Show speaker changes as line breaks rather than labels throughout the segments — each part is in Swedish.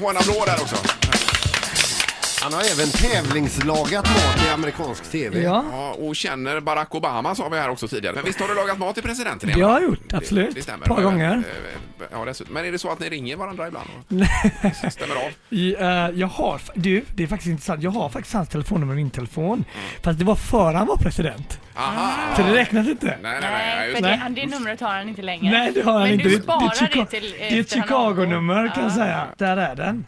få en applåd där också.
Han har även tävlingslagat mat i amerikansk tv.
Ja,
Ja, och känner Barack Obama sa vi här också tidigare. Men visst har du lagat mat till presidenten?
det
Emma?
har jag gjort,
Det, det
absolut.
stämmer.
Ett par
Eh,
gånger.
eh, Ja, dessutom. Men är det så att ni ringer varandra ibland? och Stämmer av?
I, eh, jag har, fa- du, det är faktiskt intressant. Jag har faktiskt hans telefonnummer i min telefon. Fast det var före han var president.
Aha!
Så det räknas inte.
Ah. Nej, nej, nej. nej
Nej,
just
för
det.
det, han- det numret har han inte längre.
Nej, det har han
Men
inte.
du
Det-
sparar
det, är Chica-
det till eh,
det är ett
efter han Ah. avgår.
Chicago-nummer kan jag
Ja.
säga. Där är den.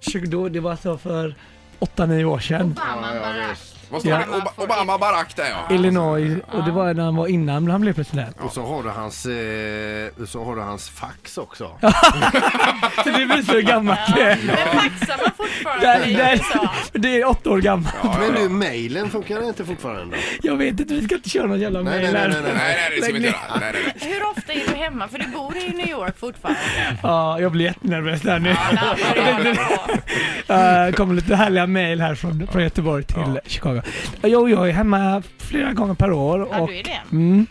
20, då, det var alltså för 8-9 år sedan.
Obama bara.
Vad står
Ja.
det? Ob- Obama Barack där ja.
Illinois. Och det var när han var innan han blev president.
Och så har du hans, eh, så har du hans fax också.
Så det visar hur gammalt det är.
Men faxar man fortfarande
Där,
i
där,
USA?
det är åtta år gammalt.
Men nu, mejlen funkar inte fortfarande?
Jag vet inte, vi ska inte köra någon jävla
Nej,
mail
nej,
här.
nej, nej,
Nej, nej, det ska vi inte göra. Nej, nej, nej.
Hur ofta är du hemma? För du bor i New York fortfarande.
Ja, jag blir jättenervös där nu.
Alla börjar bra.
Uh, kommer lite härliga mejl här från, från Göteborg till Chicago. Jo, jag är hemma flera gånger per år
Ja,
och Mm.
du är det.
Mm.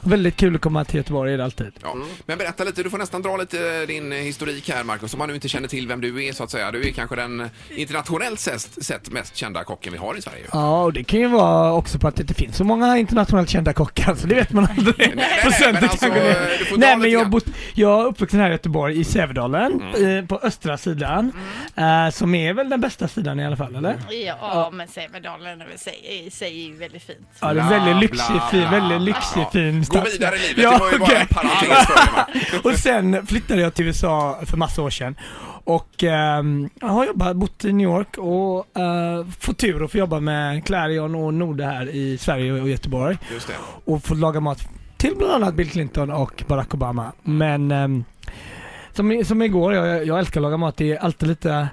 väldigt kul att komma till Göteborg är det alltid.
Ja. Men berätta lite, du får nästan dra lite eh, din historik här Marcus, om man nu inte känner till vem du är så att säga. Du är kanske den internationellt sett, sett mest kända kocken vi har i Sverige.
Ja, och det kan ju vara också på att det inte finns så många internationellt kända kockar, så det vet man aldrig.
nej,
Procenten
men alltså,
kanske det är.
du får dra lite
Nej, men jag, har
grann. Mm.
bott, jag är uppvuxen här i Göteborg, i Sävedalen, eh, på östra sidan, eh, som är väl den bästa sidan i alla fall,
Mm.
eller?
Ja, men Sävedalen är väl- säger säger ju väldigt fint.
Ja, det är
Bla,
väldigt
bla,
lyxig, fin,
bla,
väldigt
bla.
lyxig,
Ja.
fin
Gå
stads-
vidare i livet,
Ja,
det var ju bara
okej.
en parentes för dig va?
Och sen flyttade jag till USA för massa år sedan och ehm, jag har jobbat, bott i New York och eh, fått tur att få jobba med Clarion och Norde här i Sverige och Göteborg
Just det.
och fått laga mat till bland annat Bill Clinton och Barack Obama. Men ehm, som, i- som igår, jag, jag älskar att laga mat. Det är alltid lite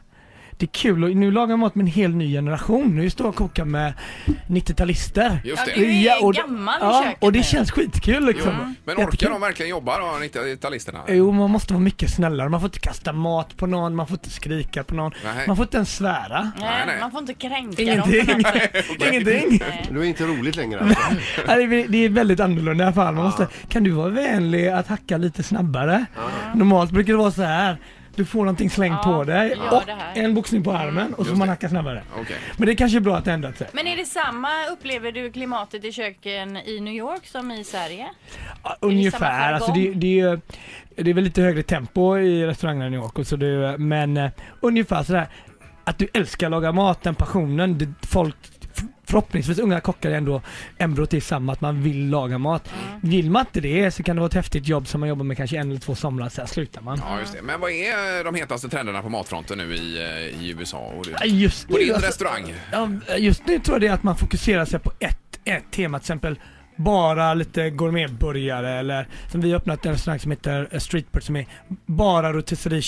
det är kul och nu lagar jag mat med en hel ny generation. Nu står jag och kokar med 90-talister.
Just
Ja,
det.
du- är ju
Ja, och-
gammal i
ja,
köket
och det
nu.
känns skitkul
Jo.
liksom.
Men
Jättekul.
orkar de verkligen jobba då, 90-talisterna?
Jo, man måste vara mycket snällare. Man får inte kasta mat på någon, man får inte skrika på någon,
Nej.
man får inte ens svära.
Nej,
Nej,
nej.
man får inte kränka
Ingenting.
dem Eh, på något sätt.
Ingenting.
Nej.
Du är inte roligt längre alltså.
Nej, det är- det är väldigt annorlunda i alla fall. Man måste, kan du vara vänlig att hacka lite snabbare? Normalt brukar det vara så här. Du får någonting slängt
Ja,
på dig
gör
och
det här.
en boxning på armen och så
Just
får man
det.
hacka snabbare.
Okej.
Men det kanske är bra att det har ändrat sig.
Men är det samma, upplever du klimatet i köken i New York som i Sverige?
Ja,
det
Ungefär.
samma
Alltså det,
jargong?
det, är, det är väl lite högre tempo i restaurangerna i New York. Och så det, men eh, ungefär sådär att du älskar att laga mat, den passionen. Det, folk, f- förhoppningsvis unga kockar är ändå embryot till samma, att man vill laga mat. Vill man inte det så kan det vara ett häftigt jobb som man jobbar med kanske en eller två somrar, sen slutar man.
Ja, just det. Men vad är de hetaste trenderna på matfronten nu i, eh, i USA? Och det,
Ja, Just
på din
nu, alltså,
restaurang?
ja, just nu tror jag det är att man fokuserar sig på ett, ett tema, till exempel bara lite gourmetburgare eller som vi har öppnat en restaurang som heter eh, Streetbird som är bara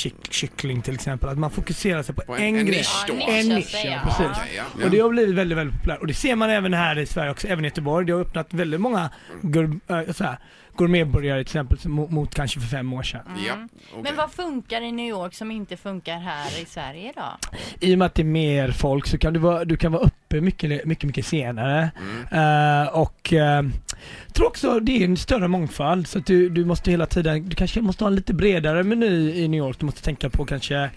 rotisseriekyckling till exempel. Att man fokuserar sig på,
På en-
en,
en
grej.
nisch då,
Ja,
En
jag
nisch,
säger.
ja, precis.
Okej, ja.
Och det har blivit väldigt, väldigt populärt. Och det ser man även här i Sverige också, även i Göteborg. Det har öppnat väldigt många gour, äh, så här, gourmetburgare till exempel som- mot, mot kanske för fem år sedan.
Ja, okej.
Mm. Men vad funkar i New York som inte funkar här i Sverige då?
i och med att det är mer folk så kan du vara, du kan vara uppe mycket, mycket, mycket senare.
Mm.
Eh, och eh, tror också det är en större mångfald så att du, du måste hela tiden, du kanske måste ha en lite bredare meny i New York. Du måste tänka på kanske,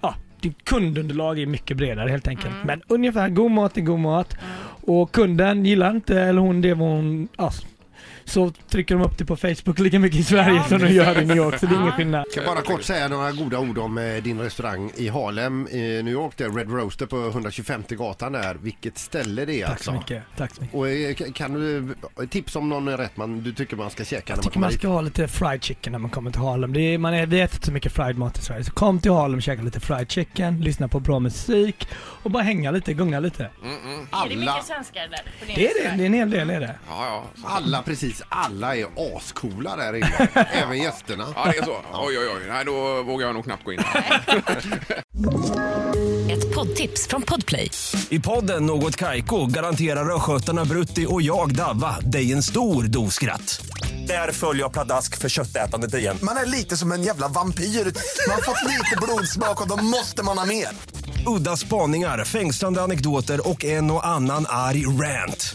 ja, ditt kundunderlag är mycket bredare helt enkelt.
Mm.
Men ungefär, god mat är god mat. Och kunden gillar inte, eller hon, det var hon, ja, så trycker de upp det på Facebook lika mycket i Sverige
Ja,
som de
precis.
gör i New York. Så det är ingen
Ja.
skillnad.
Jag kan bara kort säga några goda ord om eh, din restaurang i Harlem i New York, där Red Roaster på 125 gatan där. Vilket ställe det är
Tack så
alltså.
mycket. Tack så mycket.
Och eh, k- kan du eh, tips om någon rätt man du tycker man ska käka när
Jag
man
tycker
kommer
man
hit?
ska ha lite fried chicken när man kommer till Harlem. Det är, man är, vi äter inte så mycket fried mat i Sverige. Så kom till Harlem, käka lite fried chicken, lyssna på bra musik och bara hänga lite, gunga lite.
Är det
Alla,
mycket svenskar där? på din
Det är det,
restaurang?
det är en hel del är det.
Ja, ja.
alla, precis alla är ascoola där inne. Även gästerna.
Ja, det är så. Oj, oj, oj. Nej, då vågar jag nog knappt gå in.
Ett poddtips från Podplay.
I podden Något Kaiko garanterar östgötarna Brutti och jag, Davva, dig en stor dos skratt. Där följer jag pladask för köttätandet igen.
Man är lite som en jävla vampyr. Man har fått lite blodsmak och då måste man ha mer.
Udda spaningar, fängslande anekdoter och en och annan arg rant.